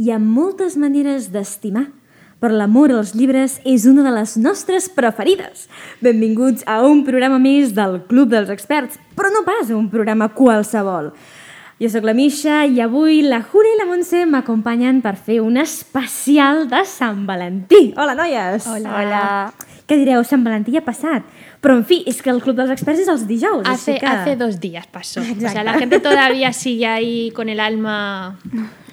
hi ha moltes maneres d'estimar, però l'amor als llibres és una de les nostres preferides. Benvinguts a un programa més del Club dels Experts, però no pas a un programa qualsevol. Jo sóc la Misha i avui la Jura i la Montse m'acompanyen per fer un especial de Sant Valentí. Hola, noies! Hola. Que direu, Sant Valentí ja ha passat. Però, en fi, és que el Club dels Experts és els dijous. Hace, així que... hace ah, dos días pasó. O sea, la gente todavía sigue ahí con el alma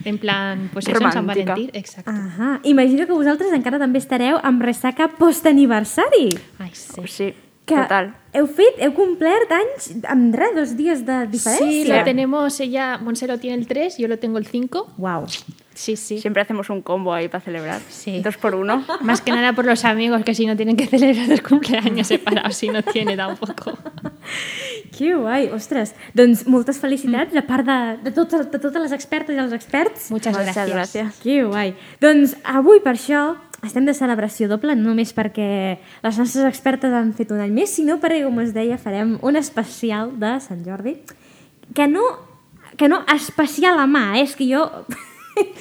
en plan, pues eso en San Romántica. Valentín. Exacto. Ahà. Imagino que vosaltres encara també estareu amb ressaca post-aniversari. Ay, sí. Pues Sí, Que total. heu fet, heu complert anys amb res, dos dies de diferència. Sí, la tenemos ella, Monse lo tiene el 3, yo lo tengo el 5. Wow. Sí, sí. Siempre hacemos un combo ahí para celebrar. Sí. Dos por uno. Más que nada por los amigos que si no tienen que celebrar el cumpleaños separados, si no tiene tampoco. Que guai, ostres. Doncs moltes felicitats de part de, de, tot, de totes les expertes i els experts. Muchas, Muchas gracias. gracias. Que guai. Doncs avui, per això, estem de celebració doble, no només perquè les nostres expertes han fet un any més, sinó perquè, com us deia, farem un especial de Sant Jordi, que no, que no especial a mà, eh? és que jo...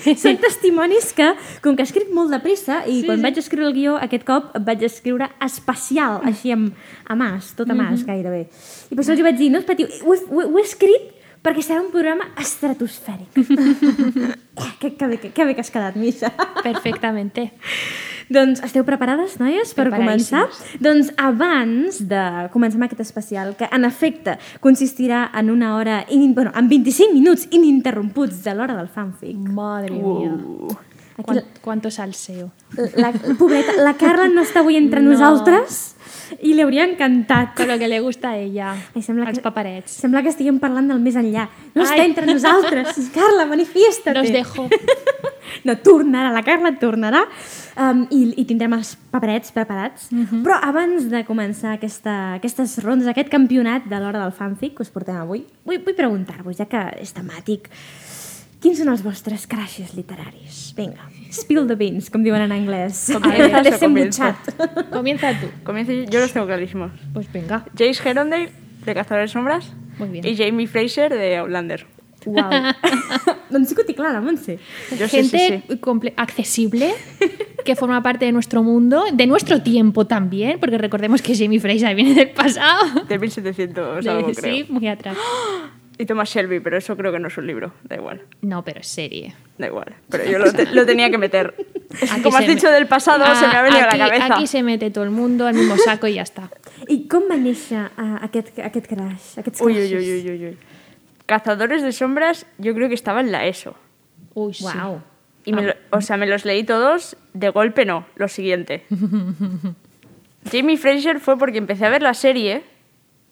Són testimonis que, com que escric molt de pressa i sí, quan sí. vaig escriure el guió aquest cop vaig escriure especial, així amb, a mas, tot a mas, mm -hmm. gairebé. I per això els hi vaig dir, no us patiu, ho, he- ho, he- ho he escrit perquè serà un programa estratosfèric. Que, que, bé, que, que bé que has quedat, Misha. Perfectamente. doncs esteu preparades, noies, per començar? Doncs abans de començar amb aquest especial, que en efecte consistirà en una hora, in, bueno, en 25 minuts ininterromputs de l'hora del fanfic. Madre mía. Uh, Aquí Cuán- la, Cuánto salseo. la, pobreta, la Carla no està avui entre no. No. nosaltres i li hauria encantat. Con lo que le gusta a ella. Ai, sembla als que, paparets. sembla que estiguem parlant del més enllà. No Ai. està entre nosaltres. Carla, manifiesta-te. Los dejo. No, tornarà, la Carla tornarà um, i, i tindrem els paperets preparats. Uh -huh. Però abans de començar aquesta, aquestes rondes, aquest campionat de l'hora del fanfic que us portem avui, vull, vull preguntar-vos, ja que és temàtic, quins són els vostres crashes literaris? Vinga, spill the beans, com diuen en anglès. Comences o Desembotxat. Comienza tú. comienzo yo, yo los tengo clarísimos. Pues venga. Jace Herondale, de Cazadores de Sombras. Muy bien. Y Jamie Fraser, de Outlander. Uau. doncs sí que ho té clar, la Montse. Yo sí, sí, gente sí. comple- accesible que forma parte de nuestro mundo, de nuestro tiempo también, porque recordemos que Jamie Fraser viene del pasado. De 1700 De- algo, sí, creo. muy atrás. Y Thomas Shelby, pero eso creo que no es un libro. Da igual, No, pero es serie. da igual. Pero yo lo, te- lo tenía que meter. Aquí Como has se me- dicho del pasado, se me ha Ah, venido aquí- a la cabeza. Aquí se mete todo el mundo al mismo saco y ya está. I com va néixer uh, aquest, aquest crash? Aquests Uy, crashes? uy, uy, uy, uy, uy. Cazadores de Sombras, yo creo que estaba en la E ESO. Uy, sí. Guau. Y Ah. me lo- o sea, me los leí todos, de golpe no, lo siguiente. Jamie Fraser fue porque empecé a ver la serie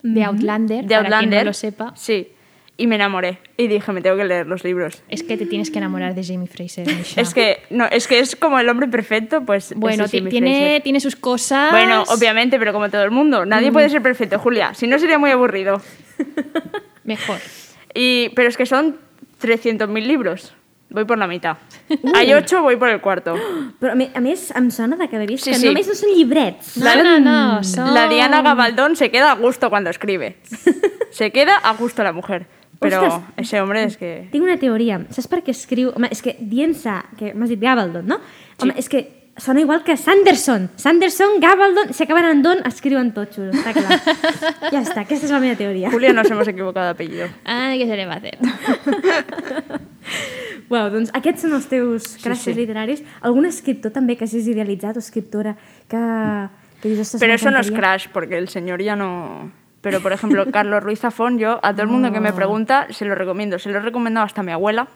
De Outlander, de para Mm-hmm. quien Outlander. no lo sepa. Sí, y me enamoré. Y dije, me tengo que leer los libros. Es que te tienes que enamorar de Jamie Fraser. Misha. Es que no, es que es como el hombre perfecto, pues ese Bueno, es ti- Jamie tiene, Fraser. tiene sus cosas. Bueno, obviamente, pero como todo el mundo, nadie Mm. puede ser perfecto, Julia, si no sería muy aburrido. Mejor. Y, pero es que son 300.000 libros. Voy por la mitad. Hay ocho, voy por el cuarto. Però a més, a més, em sona de que he vist Sí, que sí. només no són llibrets. No, no, no. son- La Diana Gabaldón se queda a gusto cuando escribe. Se queda a gusto la mujer. Pero Ostras. ese hombre es que... Tinc una teoria. Saps per què escriu... Home, és que dient-se... Que m'has dit Gabaldon, no? Sí. Home, és que sona igual que Sanderson. Sanderson, Gabaldon... Si acaben en don, escriuen tot xulo. Està clar. ja està, aquesta és la meva teoria. Julia nos hemos equivocado de apellido. Ay, ¿qué se le va a hacer? Uau, doncs aquests són els teus crashes sí. literaris. Algun escriptor també que hagis idealitzat o escriptora que... que dius, "Ostres, Pero eso no es m'encantaria"? crash, porque el señor ya no... Pero, por ejemplo, Carlos Ruiz Zafón, yo a todo el mundo que me pregunta, se lo recomiendo. Se lo he recomendado hasta a mi abuela.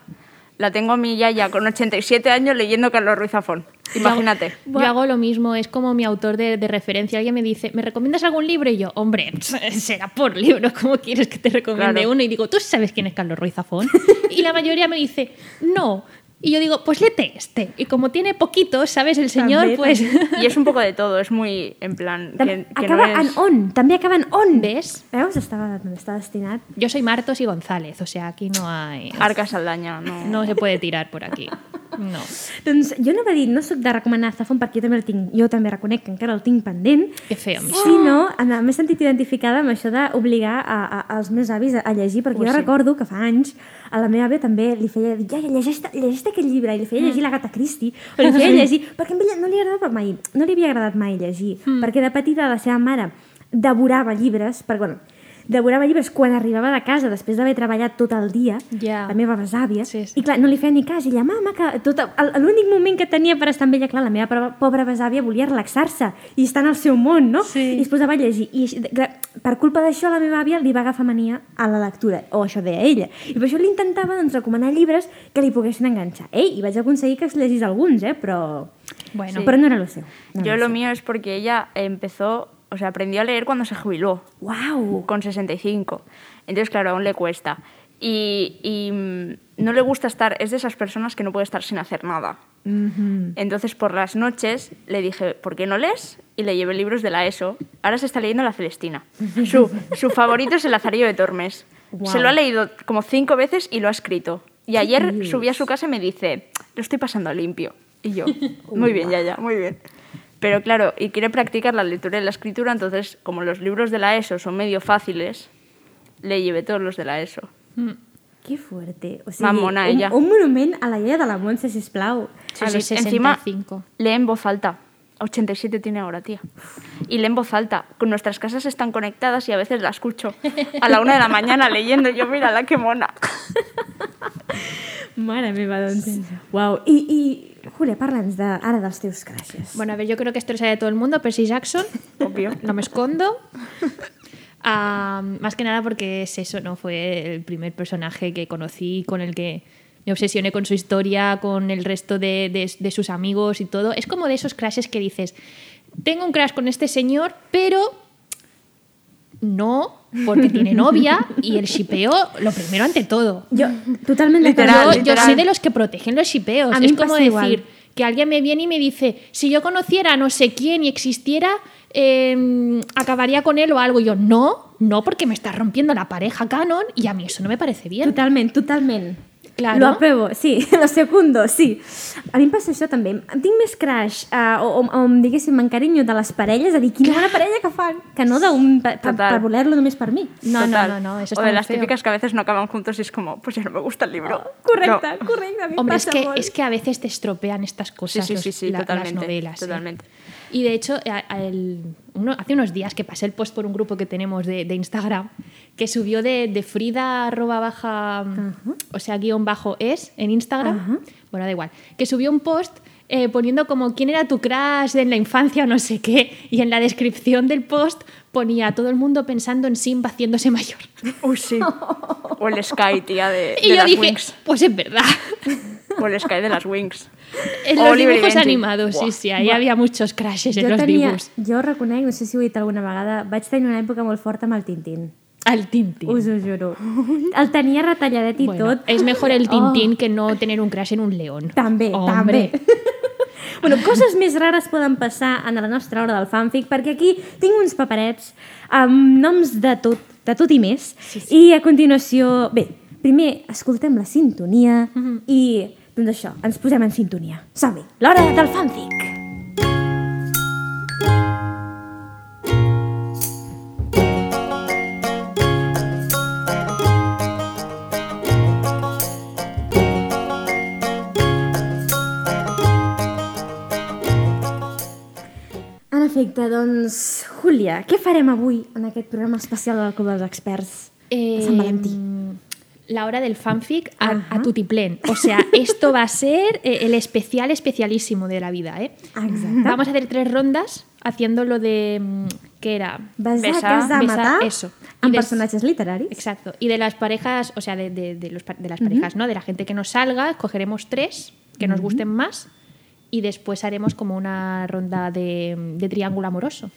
La tengo a mi yaya con 87 años leyendo Carlos Ruiz Zafón. Imagínate. Yo hago lo mismo, es como mi autor de, de referencia. Alguien me dice, ¿me recomiendas algún libro? Y yo, hombre, será por libros, ¿cómo quieres que te recomiende Claro. uno? Y digo, ¿tú sabes quién es Carlos Ruiz Zafón? y la mayoría me dice, no. Y yo digo, pues léete este. Y como tiene poquitos, ¿sabes? El señor, También, pues... Y es un poco de todo, es muy en plan... Tam- Que, que no acaba es... en on, també acaba en on. ¿Ves? Veus? Estava, està destinat. Yo soy Martos y González, o sea, aquí no hay... Arca Saldaña, no... No se puede tirar por aquí. No. Doncs jo no va dir, no sóc de recomanar Zafon perquè jo també el tinc, jo també reconec que encara el tinc pendent, Què fem? Sí, no? Em- M'he sentit identificada amb això d'obligar a, a, als meus avis a, a llegir, perquè jo recordo que fa anys a la meva àvia també li feia dir, ja, ja, llegeix, llegeix aquest llibre, i li Mm. feia llegir l'Agatha Christie, o li feia llegir, perquè a ella no li agradava mai, no li havia agradat mai llegir, Mm. perquè de petita la seva mare devorava llibres, perquè, bueno, devorava llibres quan arribava de casa, després d'haver treballat tot el dia, Ja. la meva besàvia, Sí, sí. i clar, no li feia ni cas, i ella, mama, que tot, el- l'únic moment que tenia per estar amb ella, clar, la meva pro- pobra besàvia volia relaxar-se i estar en el seu món, no? Sí. I es posava a llegir. I així- clar, per culpa d'això, la meva àvia li va agafar mania a la lectura, o això deia ella. I per això li intentava doncs, recomanar llibres que li poguessin enganxar. Ei, i vaig aconseguir que es llegís alguns, eh? Però, Bueno. sí. però no era el seu. No Yo lo mío es porque ella empezó, o sea, aprendió a leer cuando se jubiló, Uau! con 65. Entonces, claro, aún le cuesta. Y, y, mm, no le gusta estar, es de esas personas que no puede estar sin hacer nada. Mm. Entonces, por las noches le dije, ¿por qué no lees? Y le llevé libros de la ESO. Ahora se está leyendo La Celestina. Su, su favorito es El Lazarillo de Tormes. Guau. Se lo ha leído como cinco veces y lo ha escrito. Y ayer dices? subí a su casa y me dice, lo estoy pasando limpio. Y yo, muy bien, ya, ya, muy bien. Pero claro, y quiere practicar la lectura y la escritura, entonces, como los libros de la ESO son medio fáciles, le llevé todos los de la ESO. Mm. Que fuerte. O sigui, Mamona, un, ella. un monument a la iaia de la Montse, sisplau. Sí, A sí, los 65. Encima, lee en voz alta. 87 tiene ahora, tía. Y lee en voz alta. Con nuestras casas están conectadas y a veces la escucho a la una de la mañana leyendo. Yo, mira, la que mona. Mare meva, doncs. Sí. Uau. I, i Julia, parla'ns de, ara dels teus crashes. Bueno, a ver, yo creo que esto lo sabe todo el mundo. Percy Jackson, Obvio. no me escondo. Ah, más que nada porque es eso, ¿no? Fue el primer personaje que conocí, con el que me obsesioné con su historia, con el resto de, de- de sus amigos y todo. Es como de esos crashes que dices, tengo un crash con este señor, pero no, porque tiene novia y el shipeo, lo primero ante todo. Jo, totalment Literal, Yo- d'acord. yo, literal. soy de los que protegen los shipeos. A mí Es me como pasa decir igual. que alguien me viene y me dice, si yo conociera a no sé quién y existiera, eh, acabaría con él o algo. Y yo, no, no, porque me está rompiendo la pareja canon y a mí eso no me parece bien. Totalment, totalment. Claro. Lo apruebo, sí, lo secundo, sí. A mi em passa això també. Tinc més crush, uh, o, o, o em diguéssim, m'encarinyo de les parelles, a dir, quina bona parella que fan, que no d'un per, per, Total. per voler-lo només per mi. No, no, Total. no, no, eso O está de muy las feo. Ah, típicas que a veces no acaban juntos y es como, pues ya no me gusta el libro. Correcte, No. correcte, a mi em Hombre, es passa que, molt. es que a veces te estropean estas cosas Sí, sí, los- sí, sí, la- las totalmente, novelas. ¿eh? totalmente. Y de hecho, a- a el- uno- hace unos días que pasé el post por un grupo que tenemos de, de Instagram que subió de, de Frida arroba baja, o sea, guión bajo es en Instagram. Bueno, da igual. Que subió un post eh, poniendo como quién era tu crush en la infancia o no sé qué. Y en la descripción del post ponía todo el mundo pensando en Simba haciéndose mayor. Uy, sí. O el Sky, tía, de, de Y yo las dije, Wings. pues es verdad. O el Sky de las Wings. En O los Oliver y dibujos Benji. animados, Buah. sí, sí, ahí había muchos crashes en jo, los tenia, dibujos. jo reconec, no sé si ho he dit alguna vegada, vaig tenir una època molt forta amb el Tintín. Al Tintín. Us ho juro. El tenia retalladet i Bueno, tot. es mejor el Oh. Tintín que no tener un crash en un león. També, Hombre. també. bueno, coses més rares poden passar en la nostra hora del fanfic, perquè aquí tinc uns paperets amb noms de tot, de tot i més. Sí, sí. I a continuació... Bé, primer escoltem la sintonia i, doncs això, ens posem en sintonia. Som-hi, l'hora del fanfic! En efecte, doncs, Júlia, què farem avui en aquest programa especial del Club dels Experts de Sant Eh, Valentí? La hora del fanfic a, Ajá. a tutiplén. O sea, esto va a ser eh, el especial especialísimo de la vida, ¿eh? Exacte. Vamos a hacer tres rondas haciendo lo de... mm, ¿Qué era? Besar, Besar, casar, besar, matar eso. amb I des- personatges literaris. Exacto. Y de las parejas, o sea, de, de- de los pa- de las parejas, ¿no? De la gente que nos salga, cogeremos tres que nos gusten más y después haremos como una ronda de, de triángulo amoroso.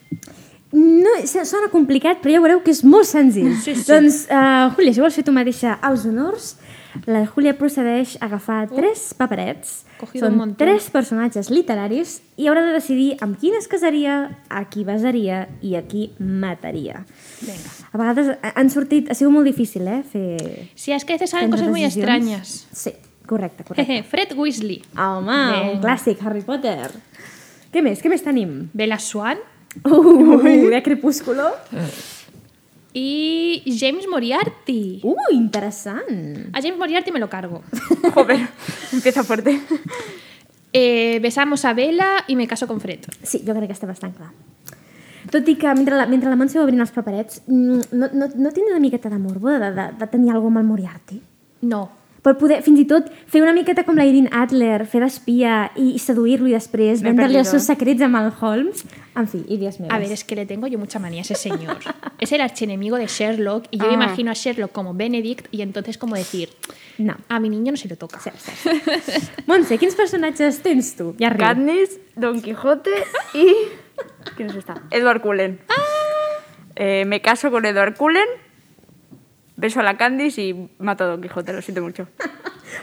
No, s- sona complicat, però ja veureu que és molt senzill. Sí, sí. Doncs, uh, Júlia, si vols fer tu mateixa els honors, la Júlia procedeix a agafar tres paperets. Oh. cogido un Són montón. tres personatges literaris i haurà de decidir amb qui es casaria, a qui besaria i a qui mataria. Venga. A vegades eh, han sortit... Ha sigut molt difícil, eh, fer... Si es que a veces salen prendre cosas muy decisions. extrañas. Sí. Correcte, correcte. Jeje, Fred Weasley, Home, Vinga. un clàssic, Harry Potter. Què més? Què més tenim? Bella Swan Uh, de Crepúsculo. y James Moriarty. Uh, interessant. A James Moriarty me lo cargo. Joder, empieza fuerte. Eh, besamos a Bella y me caso con Fred. Sí, jo crec que està bastant clar. Tot i que mentre la, mentre la Montse va obrint els paperets, mm, no, no, no tindrà una miqueta de morbo de, de, de tenir alguna amb el Moriarty? No. Per poder, fins i tot, fer una miqueta com la Irene Adler, fer d'espia i seduir-lo i després M'he vendre-li els perdido. seus secrets amb el Holmes. En fi, idees meves. A ver, es que le tengo yo mucha manía a ese señor. Es el archienemigo de Sherlock y yo Ah. imagino a Sherlock como Benedict y entonces como decir, No. a mi niño no se lo toca. Montse, quins personatges tens tu? Ja riu. Katniss, Don Quijote y... ¿Quién es esta? Edward Cullen. Eh, me caso con Edward Cullen, beso a la Candice y mato a Don Quijote, lo siento mucho.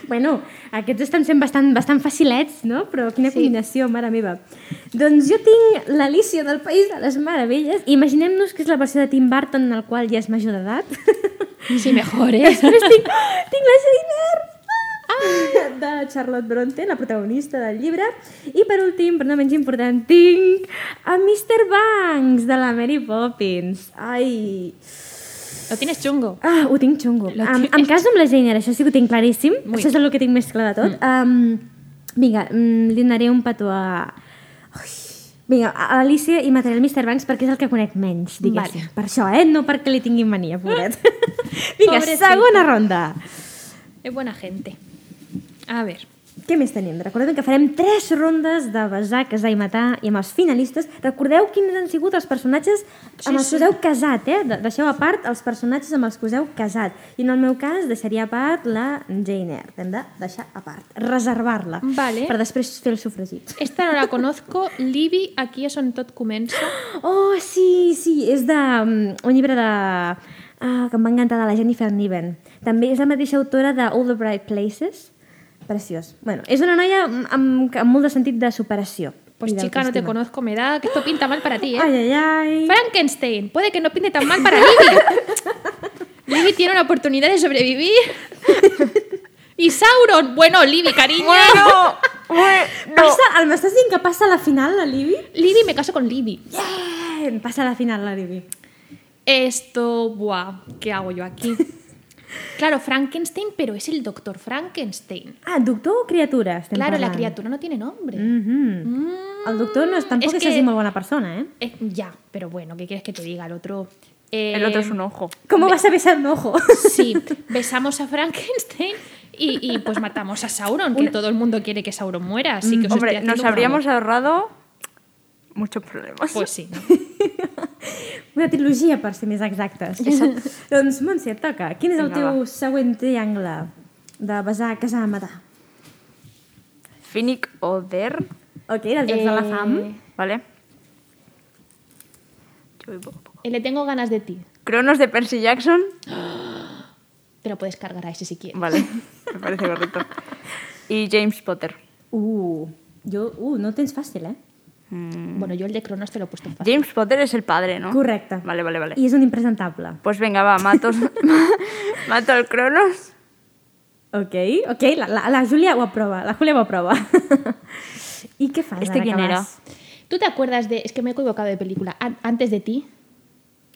Bueno, aquests estan sent bastant, bastant facilets, no? Però quina sí. combinació, mare meva. Doncs jo tinc l'Alícia del País de les Meravelles. Imaginem-nos que és la versió de Tim Burton en el qual ja és major d'edat. Sí, mejor, ¿eh? Després tinc, tinc la Jane Eyre ah, de Charlotte Bronte, la protagonista del llibre. I per últim, però no menys important, tinc a Mr. Banks, de la Mary Poppins. Ai, Lo tienes chungo. Ah, ho tinc xungo. Lo Em, tienes. em caso amb la Jane Eyre, això sí que ho tinc claríssim. Muy Mm. Això és el que tinc més clar de tot. Um, vinga, mm, li donaré un petó a... Ui. Vinga, a l'Alicia i mataré el Mr. Banks perquè és el que conec menys, diguéssim. Vale. Per això, eh? No perquè li tinguin mania, pobret. vinga, Pobrecito. segona ronda. Es buena gente. A ver. Què més tenim? Recordem que farem tres rondes de besar, casar i matar i amb els finalistes. Recordeu quins han sigut els personatges amb els que us heu casat, eh? De- Deixeu a part els personatges amb els que us heu casat. I en el meu cas deixaria a part la Jane Eyre. Hem de deixar a part, reservar-la. Vale. Per després fer el sufragit. Esta no la conozco. Libby, aquí es on tot comença. Oh, sí, sí, és de um, un llibre de... Ah, que em va encantar, de la Jennifer Niven. També és la mateixa autora de All the Bright Places. Preciós. Bueno, és una noia amb, amb, amb molt de sentit de superació. Pues i chica, no te d'autoestima. conozco. Me da que esto pinta mal para ti, ¿eh? Ai, ai, ai. Frankenstein, puede que no pinte tan mal para Libby. Libby tiene una oportunidad de sobrevivir. Y Sauron, bueno, Libby, cariño. Bueno, bueno. Passa, el m'estàs dient que passa a la final, la Libby? Libby, me caso con Libby. Yeah! Passa a la final, la Libby. Esto, buah, ¿qué hago yo aquí? Claro, Frankenstein, pero es el doctor Frankenstein. Ah, doctor o criatura? Estem Claro, la parlant? criatura no tiene nombre. Mhm. Mm, El doctor no és, tampoc és és, que... que- sigui molt bona persona, eh? eh, ya, pero bueno, ¿qué quieres que te diga? El otro. eh, El otro es un ojo. ¿Cómo vas a besar un ojo? Sí, besamos a Frankenstein y, y, pues matamos a Sauron, que todo el mundo quiere que Sauron muera. Así que os estoy Mm, Hombre, haciendo nos un habríamos favor. ahorrado muchos problemas. Pues sí. ¿no? Una trilogia, per ser més exactes. Exacte. doncs, Montse, et toca. Quin és el Vinga, teu va. següent triangle de besar, casar, matar? Finnick Oder, Ok, dels Jocs de la Eh, Fam. ¿vale? Yo voy poco a poco. Le tengo ganas de ti. Cronos de Percy Jackson, Te lo puedes cargar a ese si quieres. vale, me parece correcto. Y James Potter. Uh, jo, uh, no ho tens fàcil, eh? Mm, Bueno, yo el de Cronos te lo he puesto fácil. James Potter es el padre, ¿no? Correcte. Vale, vale, vale. I és un impresentable. Pues venga, va, mato, mato al Cronos. Ok, ok, la, la, la Júlia ho aprova, la Júlia ho aprova. I què fas? Este ara que quién era? vas? ¿Tú te acuerdas de.? Es que me he equivocado de película. An- antes de ti,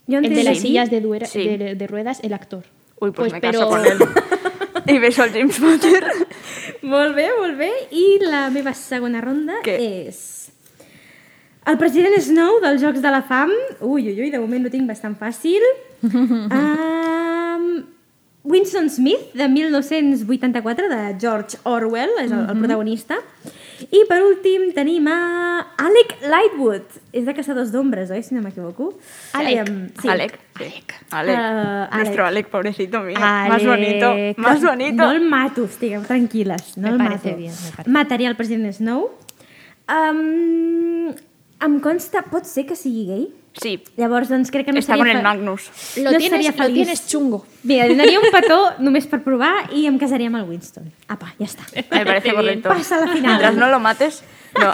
Jo el entenc de que las sí. sillas de, duera- Sí. de, de ruedas, el actor. Uy, pues, me caso con él. Y beso al James Potter. Molt bé, molt bé. I la meva segona ronda Què? és... El president Snow dels Jocs de la Fam. Ui, ui, ui, de moment ho tinc bastant fàcil. Um, Winston Smith, de 1984, de George Orwell, és el, Mhm. el protagonista. I per últim tenim a Alec Lightwood. És de Caçadors d'Ombres, oi, si no m'equivoco? Alec. Em, Alec. sí. Alec. Ah, Nuestro Alec, pobrecito mío. Eh, Más bonito. Alec. Más bonito. No el mato, estigueu tranquil·les. No Me el parece mato. bien, me parece. Mataria el president Snow. Um, em consta, pot ser que sigui gay? Sí. Llavors, doncs crec que no Está con seria... el fe- Magnus. Lo, No sería tienes, lo feliz. tienes chungo. Mira, li donaria un petó només per provar i em casaria amb el Winston. Apa, ja està. Me parece bien. correcto. Pasa la final. Mientras no lo mates. No,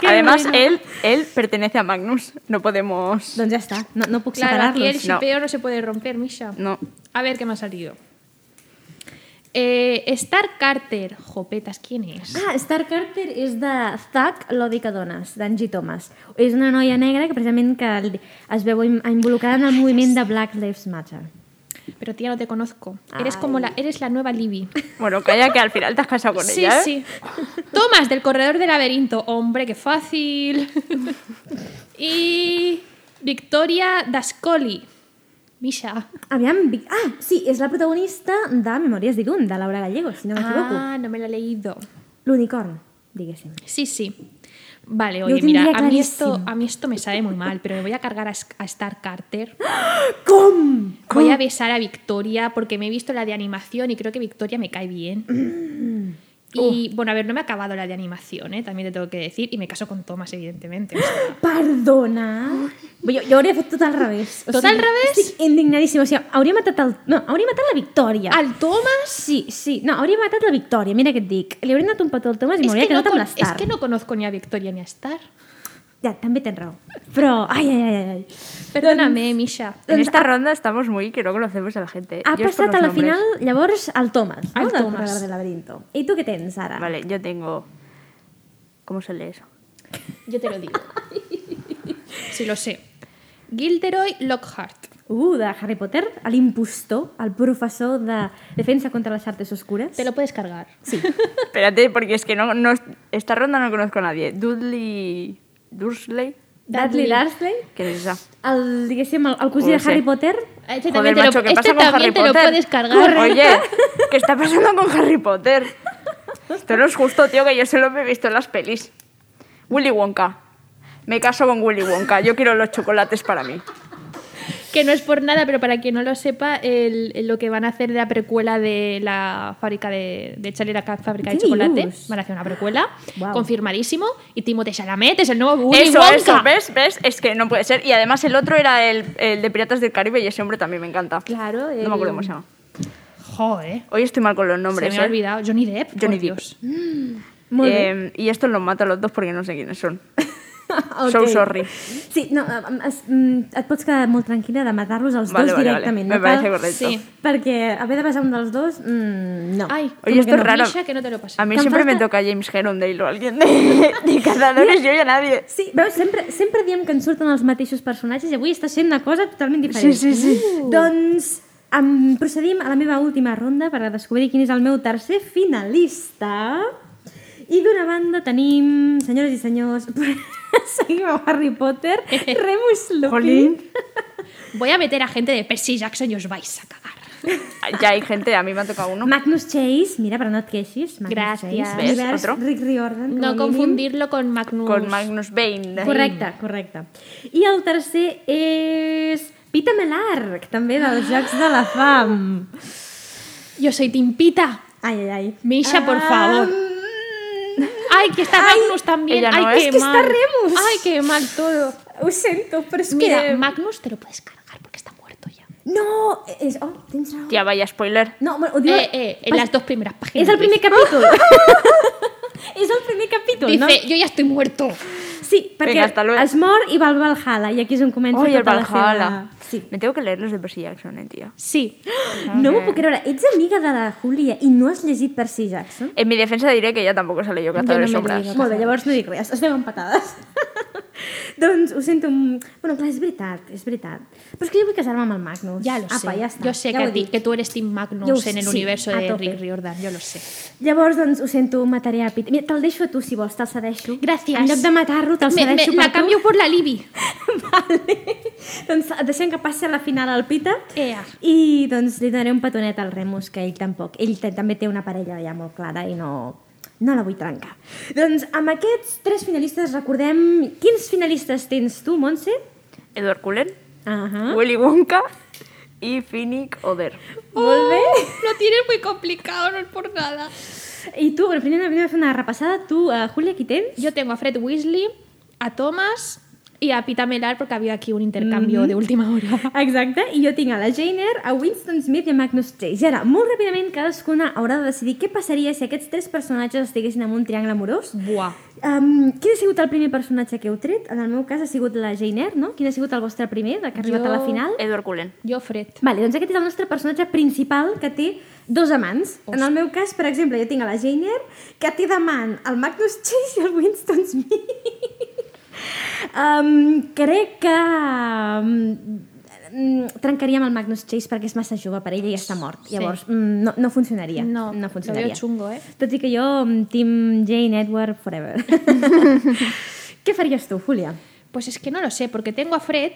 Qué además, bueno. él, él pertenece a Magnus. No podemos. Doncs ja està, no, no puc Claro, aquí el separar-los. shipeo no. se puede romper, Misha. No. A ver qué me ha salido. Eh, Star Carter, jopetas, ¿quién es? Ah, Star Carter és de Zack, l'odi que dones, d'Angie Thomas. És una noia negra que precisament que el- es veu im- involucrada en el moviment de Black Lives Matter. Pero tía, no te conozco. Eres como la, eres la nueva Libby. Bueno, calla que al final te has casado con Sí, ella. ¿eh? sí. Tomás del corredor del laberinto. Hombre, qué fácil. y Victoria Dascoli. Misha. Aviam... vi- Ah, sí, és la protagonista de Memòries d'Idun, de Laura Gallego, si no m'equivoco. Ah, no me la he leído. L'unicorn, diguéssim. Sí, sí. Vale, Yo oye, tendría mira, a mí, esto, clarísimo. a mí esto me sabe muy mal, pero me voy a cargar a, S- a Star Carter. Com? Voy a besar a Victoria porque me he visto la de animación y creo que Victoria me cae bien. Mm. Oh. Y bueno, a ver, no me ha acabado la de animación, ¿eh? también te tengo que decir. Y me caso con Thomas, evidentemente. o sea, Perdona. Jo, jo hauria fet tot al revés. Tot al revés? Estic indignadíssima. O sigui, hauria matat el... No, hauria matat la Victòria. ¿Al Thomas? Sí, sí. No, hauria matat la Victòria, mira què et dic. Li hauria anat un petó al Tomàs i Es m'hauria que, no quedat amb con- es l'Star. que no conozco ni a Victoria ni a Star. Ja, també tens raó. Però, ai, ai, ai, ai. Perdóname, Misha. En Doncs esta ha- ronda estamos muy que no conocemos a la gente. Doncs, Ha Yo es por passat a los la nombres. final, llavors, al Thomas, no? Al Del Thomas. Corredor del laberinto. I tu què tens, ara? Vale, yo tengo. ¿Cómo se lee eso? Yo te lo digo. Si lo sé. Gilderoy Lockhart. Uh, de Harry Potter, l'impostor, el professor de defensa contra les artes oscures. Te lo puedes cargar. Sí. Espérate, porque es que no, no- Esta ronda no conozco a nadie. Dudley. Dursley. Dudley Dursley, ¿Qué es esa? el, diguéssim, el, el cosí Ho de sé. Harry Potter. A Este Joder, también, te, macho, lo, ¿qué pasa este con también Harry te lo Potter? puedes cargar. Oye, ¿qué está pasando con Harry Potter? Esto no es justo, tío, que yo solo me he visto en las pelis. Willy Wonka. Me caso con Willy Wonka. Yo quiero los chocolates para mí. Que no es por nada, pero para quien no lo sepa, el- el- lo que van a hacer de la precuela de la fábrica de, de Charlie la ca- fábrica de ¿Qué chocolate, dios? van a hacer una precuela, Guau. confirmadísimo, y Timothée Chalamet es el nuevo Willy eso, Wonka. eso, ¿ves? ¿Ves? Es que no puede ser. Y además el otro era el, el de Piratas del Caribe y ese hombre también me encanta. Claro, No el- me acuerdo cómo se llama. Joder, Hoy estoy mal con los nombres. se me ha ¿eh? olvidado. Johnny Depp, Johnny Johnny Depp. Dios. Molt bé. Eh, y estos los mato a los dos porque no sé quiénes son. Pues, Ok. So sorry. Sí, no, em- em- es- mm, et pots quedar molt tranquil·la de matar-los els Vale, dos vale, directament. no vale. Me parece cal- correcto. Sí. Perquè haver de passar un dels dos, mm, no. Ay, Oye, Como que esto es no. raro. Misha, que no te lo pases. A mí Que em siempre me falta- toca James Herondale o alguien de, de Cazadores, yo y a nadie. Sí, veus, sempre, sempre diem que ens surten els mateixos personatges i avui està sent una cosa totalment diferent. Sí, sí, sí. Uh. Doncs em, procedim a la meva última ronda per a descobrir quin és el meu tercer finalista. I d'una banda tenim, senyores i senyors, seguim amb Harry Potter, Remus Lupin. Jolín. Voy a meter a gente de Percy Jackson y os vais a cagar. Ya hay gente, a mí me ha tocado uno. Magnus Chase, mira, però no et queixis. Magnus Gràcies. Chase. Ves, Univers, otro. Rick Riordan. com a No mínim. confundirlo con Magnus. Con Magnus Bane. Pues- Correcte, correcte. I el tercer és Pita Melarc, també dels Jocs de la Fam. Yo soy Timpita. Ai, ai, ai. Misha, por favor. Mm, Ay, que está Magnus también. ella no, Ay, es qué que mal. está Remus. Ay, qué mal todo. Ho sento, però és Mira, que... Magnus te lo puedes cargar porque está muerto ya. No, és... Oh, tens raó. Tía, vaya spoiler. No, bueno, ho diu... Eh, eh, en las dos primeras páginas. És el primer capítol. és el primer capítol, Dice, no? yo ya estoy muerto. Sí, perquè Vinga, hasta luego. es mor i va al Valhalla, i aquí és on comença Oye, el tota Valhalla. la seva... Sí. Me tengo que leer los de Percy Jackson, eh, tía. Sí. No m'ho puc creure. Ets amiga de la Júlia i no has llegit Percy Jackson? En mi defensa diré que ya tampoco se leyó Cazadores me de Sombras. leo. Molt bé, llavors no dic res, estem empatades. doncs ho sento... mm, Bueno, clar, és veritat, és veritat. Però és que jo vull casar-me amb el Magnus. Ah, pues Ya lo Apa, sé. Ja està. yo sé ja que, ho a he ti- dit. que tú eres Tim Yo Magnus en el sí, universo a de tope. Rick Riordan. Yo lo sé. Llavors, doncs, ho sento, mataré a Pete. Mira, te'l deixo a tu, si vols, te'l cedeixo. Gràcies. En lloc de matar-lo, te'l Me- me- cedeixo la per tu. cambio por la Libby. vale. doncs deixem que passi a la final al Pita. Ea. I doncs li donaré un petonet al Remus, que ell tampoc. Ell t- també té una parella ja molt clara i no, no la vull trencar. Doncs amb aquests tres finalistes recordem... Quins finalistes tens tu, Montse? Edward Cullen, Ah -huh. Willy Wonka y Finnick Oder. Molt bé. Lo tienes muy complicado, no es por nada. I tu, eh, bueno, primer anem a fer una repassada. Tu, uh, Júlia, qui tens? Yo tengo a Fred Weasley, a Thomas, y a Pita Melar porque ha habido aquí un intercambio de última hora. Exacte, i jo tinc a la Jane Eyre, a Winston Smith i a Magnus Chase. I ara, molt ràpidament, cadascuna haurà de decidir què passaria si aquests tres personatges estiguessin en un triangle amorós. Buah. Um, quin ha sigut el primer personatge que heu tret? En el meu cas ha sigut la Jane Eyre, no? Quin ha sigut el vostre primer, de que ha arribat Jo- a la final? Edward Cullen. Yo Fred. Vale, doncs aquest és el nostre personatge principal que té dos amants. En el meu cas, per exemple, jo tinc a la Jane Eyre, que té d'amant el Magnus Chase i el Winston Smith. um, crec que um, trencaria amb el Magnus Chase perquè és massa jove per ella i ja està mort. Sí. Llavors, mm, no, no funcionaria. No, no lo funcionaria. veo chungo, ¿eh? Tot i que jo, mm, team Jane Edward forever. Què faries tu, Julia? Pues es que no lo sé, porque tengo a Fred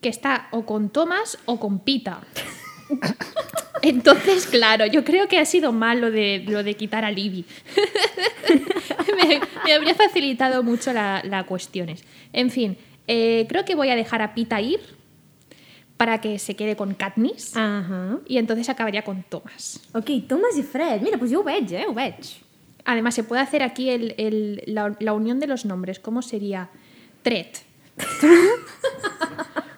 que está o con Thomas o con Pita. Entonces, claro, yo creo que ha sido mal lo de, lo de quitar a Libby. me, me habría facilitado mucho la, la cuestiones. En fin, eh, creo que voy a dejar a Pita ir para que se quede con Katniss Ahà. y entonces acabaría con Thomas. Ok, Thomas i Fred. Mira, doncs jo ho veig, eh? Ho veig. Además, se puede hacer aquí el- el- la, la unión de los nombres. ¿Cómo sería? Tret.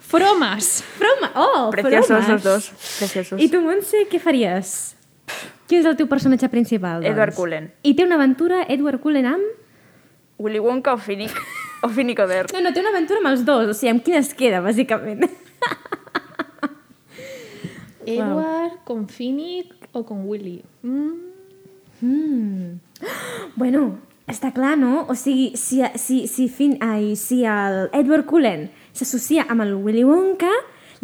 Fromas. Froma! Oh, Preciosos Fromas. los dos. Preciosos. I tu, Montse, què faries? Quin és el teu personatge principal? Doncs? Edward Cullen. I té una aventura Edward Cullen amb... Willy Wonka o Finnick. o Finnick Oder. No, no, té una aventura amb els dos, o sigui, amb quina es queda, bàsicament. Edward, con Finnick o con Willy. Mm, Bueno, està clar, no? O sigui, si, si, si, fin, ai, si el Edward Cullen s'associa amb el Willy Wonka,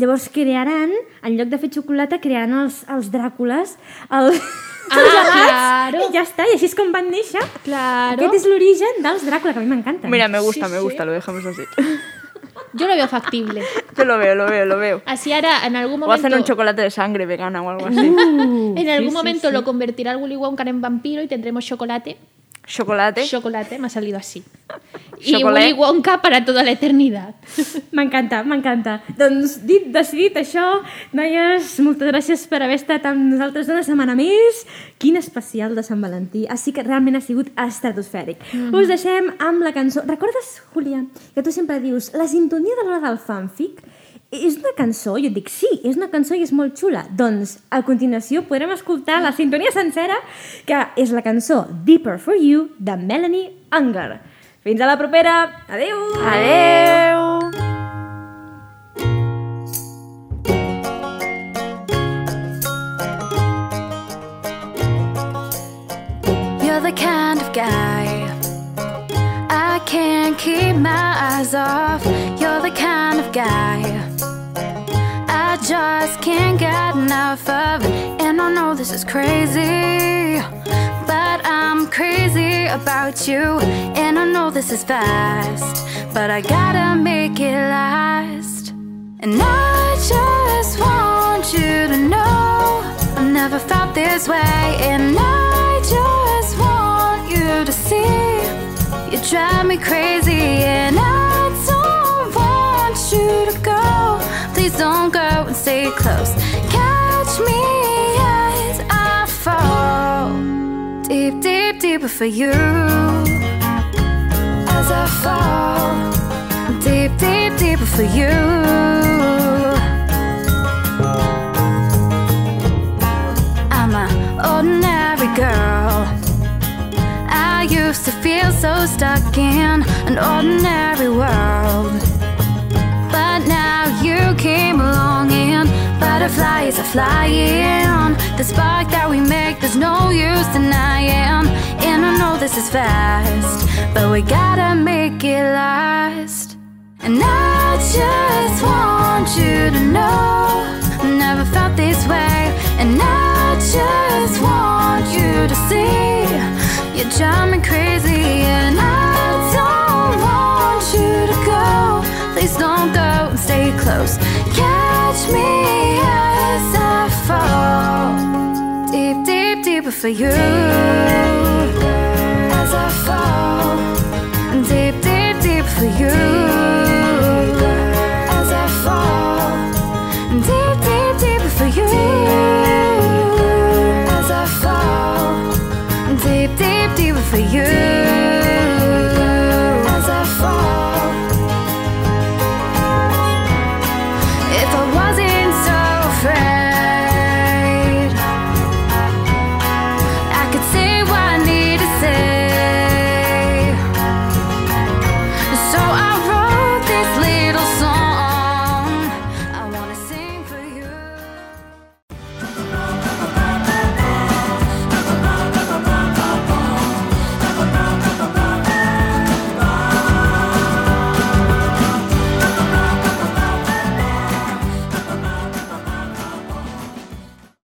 llavors crearan, en lloc de fer xocolata, crearan els, els Dràcules, els Ah, gelats, claro. i ja està, i així és com van néixer. claro. Aquest és l'origen dels Dràcula, que a mi m'encanta. Mira, me gusta, Sí, me sí. gusta, lo dejamos así. Yo lo veo factible. Yo lo veo, lo veo, lo veo. Así ahora en algún O hacen un momento, chocolate de sangre vegana o algo así. en algún momento lo convertirá el Willy Wonka en vampiro y tendremos chocolate. Chocolate. Chocolate, me ha salido así. Y Chocolate. Willy Wonka para toda la eternidad. M'encanta, m'encanta. Doncs dit, decidit això, noies, moltes gràcies per haver estat amb nosaltres una setmana més. Quin especial de Sant Valentí. Així que realment ha sigut estratosfèric. Us deixem amb la cançó... Recordes, Julià, que tu sempre dius la sintonia de l'hora del fanfic és una cançó? Jo et dic, sí, és una cançó i és molt xula. Doncs, a continuació, podrem escoltar la sintonia sencera, que és la cançó Deeper For You, de Melanie Unger. Fins a la propera! Adeu! Adeu. You're the kind of guy I can't keep my eyes off. You're the kind of guy I just can't get enough of. And I know this is crazy, but I'm crazy about you. And I know this is fast, but I gotta make it last. And I just want you to know I've never felt this way. And I just want you to see you drive me crazy. And I don't want you to go. Please don't go and stay close. Catch me as I fall deep, deep, deeper for you. As I fall deep, deep, deeper for you. I'm an ordinary girl. I used to feel so stuck in an ordinary world. But now you came along and butterflies are flying. The spark that we make, there's no use denying. And I know this is fast, but we gotta make it last. And I just want you to know I never felt this way. And I just want you to see you drive me crazy. And I don't want you to go. Please don't go and stay close. Catch me as I fall deep, deep, deeper for you.